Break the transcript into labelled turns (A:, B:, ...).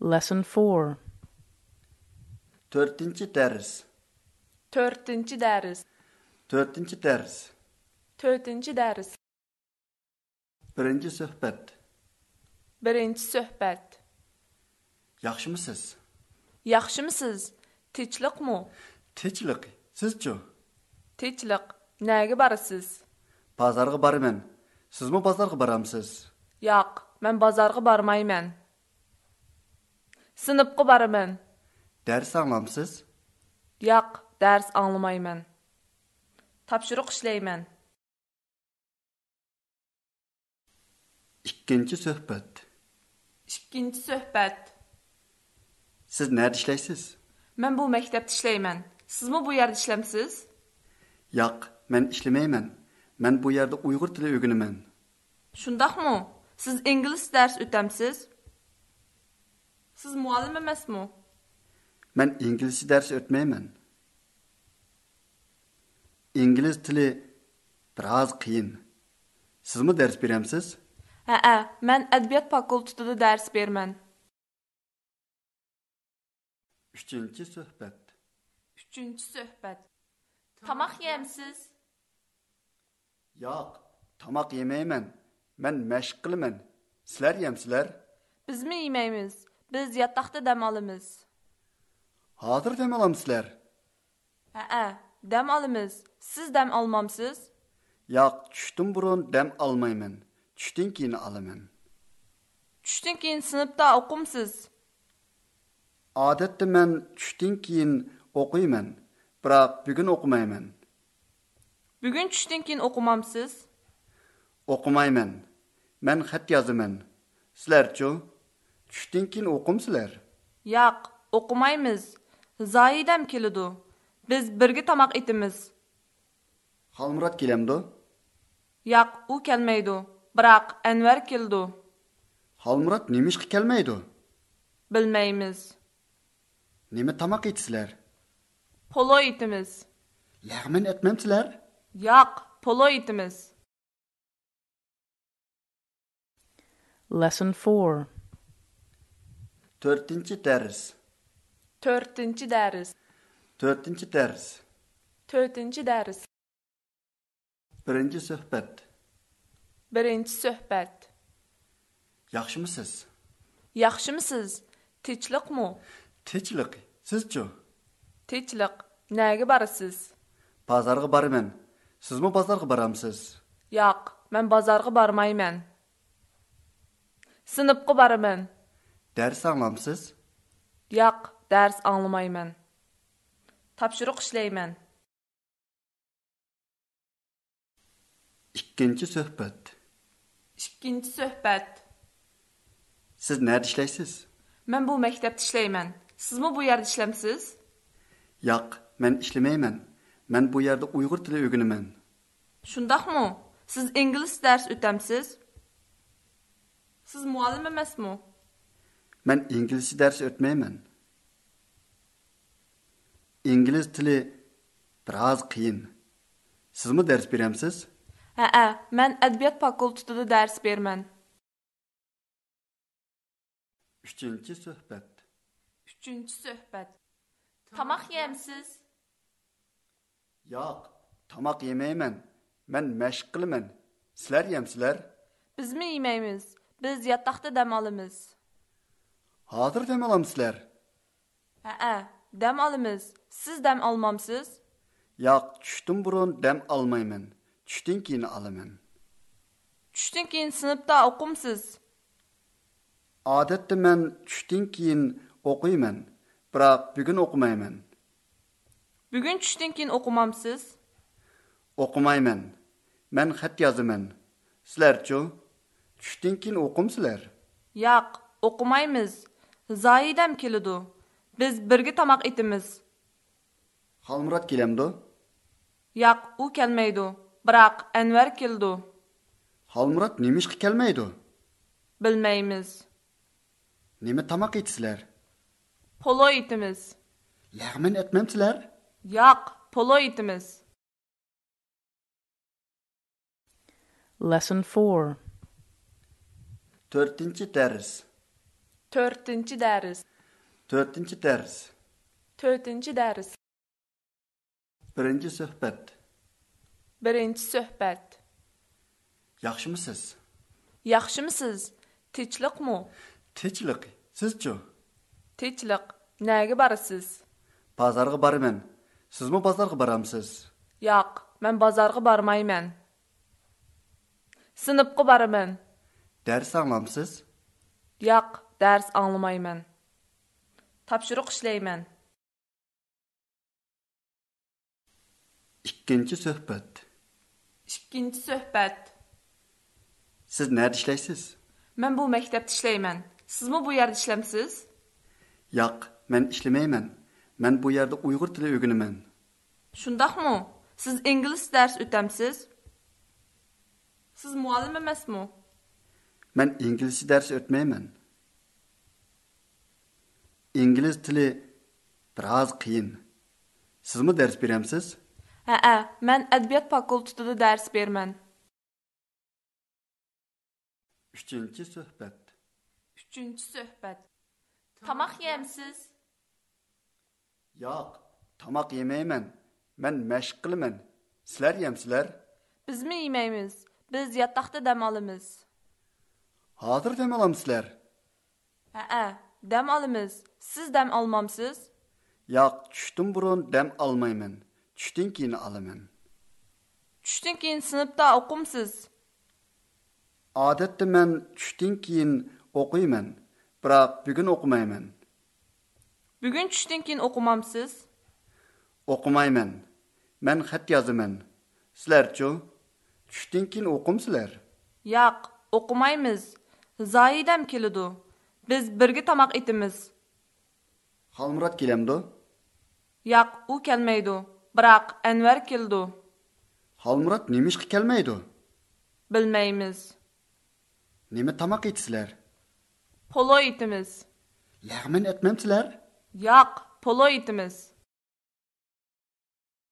A: Lesson 4
B: to'rtinchi dars
C: to'rtinchi dars
B: to'rtinchi dars
C: to'rtinchi dars
B: birinchi suhbat
C: birinchi suhbat
B: yaxshimisiz
C: yaxshimisiz tinchliqmi
B: tinchlik sizchu
C: tinchliq naga borasiz
B: bozorga boraman sizmi bozorga boramsiz
C: yo'q men bozorga bormayman sinfga boraman
B: dars anglamsiz
C: yo'q dars anglamayman topshiriq ishlayman
B: ikkinchi suhbat
C: ikkinchi suhbat
B: siz nerda ishlaysiz
C: men bu maktabda ishlayman sizmi bu yerda ishlamsiz
B: yo'q men ishlamayman men bu yerda uyg'ur tili o'ginaman
C: shundoqmi siz ingliz dars o'tamsiz siz muallim emasmi
B: men inglizcha dars o'tmayman ingliz tili biroz qiyin sizmi dars beramsiz
C: ha a men adabiyot fakultetida dars berman
B: uchinchi suhbat
C: uchinchi suhbat tomoq yemsiz
B: yo'q tomoq yemayman men mashq qilaman sizlar yamsizlar
C: bizmi yemaymiz biz yotoqda dam olamiz
B: hozir dam olamsizlar
C: ha a dam olamiz siz dam olmamsiz
B: yo'q tushdan burun dam olmayman tushdan keyin olaman
C: tushdan keyin sinfda o'qimsiz
B: odatda men tushdan keyin o'qiyman biroq bugun o'qimayman
C: bugun tushdan keyin o'qimamsiz
B: o'qimayman men xat yozaman sizlarchu tushdan keyin o'qimsizlar
C: yo'q o'qimaymiz zoidam keladi biz birga tomoq etimiz
B: xolmurod kelamdu
C: yo'q u kelmaydi biroq anvar keldi
B: xolmurod nima ishga kelmaydi
C: bilmaymiz
B: nima tomoq yeysizlar
C: polo etimiz
B: lag'man etmamsizlar
C: yo'q polo etimiz
A: Lesson 4
B: to'rtinchi dars
C: to'rtinchi dars
B: to'rtinchi dars
C: to'rtinchi dars
B: birinchi suhbat
C: birinchi suhbat
B: yaxshimisiz
C: yaxshimisiz tinchliqmi
B: tinchlik sizchu
C: tinchliq naga borasiz
B: bozorga boraman sizmi bozorga boramsiz
C: yo'q men bozorga bormayman sinfga boraman
B: dars anglamsiz
C: yo'q dars anglamayman topshiriq ishlayman
B: ikkinchi suhbat
C: ikkinchi suhbat
B: siz nerda ishlaysiz
C: men bu maktabda ishlayman sizmi bu yerda ishlamsiz
B: yo'q men ishlamayman men bu yerda uyg'ur tili o'ginaman
C: shundoqmi siz ingliz dars o'tamsiz siz muallim emasmi
B: men inglizcha dars o'tmayman ingliz tili biroz qiyin sizmi dars beramsiz
C: ha a men adabiyot fakultetida dars berman
B: uchinchi suhbat
C: uchinchi suhbat tomoq yemsiz
B: yo'q tomoq yemayman men mashq qilaman sizlar yamsizlar
C: bizmi yemaymiz biz yotoqda dam olamiz
B: hozir dam olamsizlar
C: ha a dam olamiz siz dam olmamsiz
B: yo'q tushdan burun dam olmayman tushdan keyin olaman
C: tushdan keyin sinfda o'qimsiz
B: odatda men tushdan keyin o'qiyman biroq bugun o'qimayman
C: bugun tushdan keyin o'qimamsiz
B: o'qimayman men xat yozaman sizlarchu tushdan keyin o'qimsizlar
C: yo'q o'qimaymiz zoidam keladi biz birga tomoq etimiz
B: xolmurod kelamdu
C: yo'q u kelmaydi biroq anvar keldi
B: xolmurod nima ishga kelmaydi
C: bilmaymiz
B: nima tomoq yeysizlar
C: polo etimiz
B: lag'man etmamsizlar
C: yo'q polo etimiz
A: Lesson 4
B: to'rtinchi dars
C: to'rtinchi dars
B: Төртінші дәріс.
C: to'rtinchi dars
B: Бірінші сөхбет.
C: birinchi suhbat
B: Яқшымысыз?
C: yaxshimisiz tinchliqmi
B: Течілік. Сіз чу?
C: tinchliq naga borasiz
B: Базарға барымен. Сіз му базарға барамсыз?
C: yo'q men bozorga bormayman sinfga boraman
B: Дәріс аңламсыз?
C: yo'q dars anglamayman topshiriq ishlayman
B: Иккенче сөхбет.
C: ikkinchi suhbat
B: Сіз нәрді ішләйсіз?
C: men bu maktabda ishlayman sizmi bu yerda ishlamsiz
B: Яқ, мен ішлемеймін. Мен бұ ерді ұйғыр тілі өгінімен.
C: shundoqmi siz ingliz dars o'tamsiz siz muallim emasmi
B: Мен инглизче дәрс өтмеймін. Инглиз тілі біраз қиын. Сіз мұ дәрс беремсіз?
C: ha ha men adabiyot fakultetida dars berman
B: Үшінші сөхбет.
C: uchinchi suhbat tomoq yemsiz
B: Яқ, тамақ емеймін. Мен мәшқ қылымен. Сілер емсілер?
C: bizmi yemaymiz biz yotoqda dam olamiz
B: Hazır дем алам сілер?
C: ha ha dam olamiz siz dam olmamsiz
B: Яқ, түштім бұрын дәм алмаймын. Түштен кейін аламын.
C: tushdan keyin sinfda o'qimsiz
B: Адетте мен түштен кейін оқимын, бірақ бүгін оқымаймын.
C: bugun tushdan keyin o'qimamsiz
B: Оқымаймын. Мен хат язымын. Сілер чу? Түштен кейін оқымсызлар?
C: yo'q o'qimaymiz zoidam keladi biz birga tomoq etimiz
B: Халмұрат келемді?
C: yo'q u kelmaydi biroq anvar keldi
B: Халмұрат немішқі келмейді?
C: bilmaymiz
B: Немі тамақ етсілер?
C: polo etimiz
B: Ләғмен әтмемсілер?
C: yo'q polo etimiz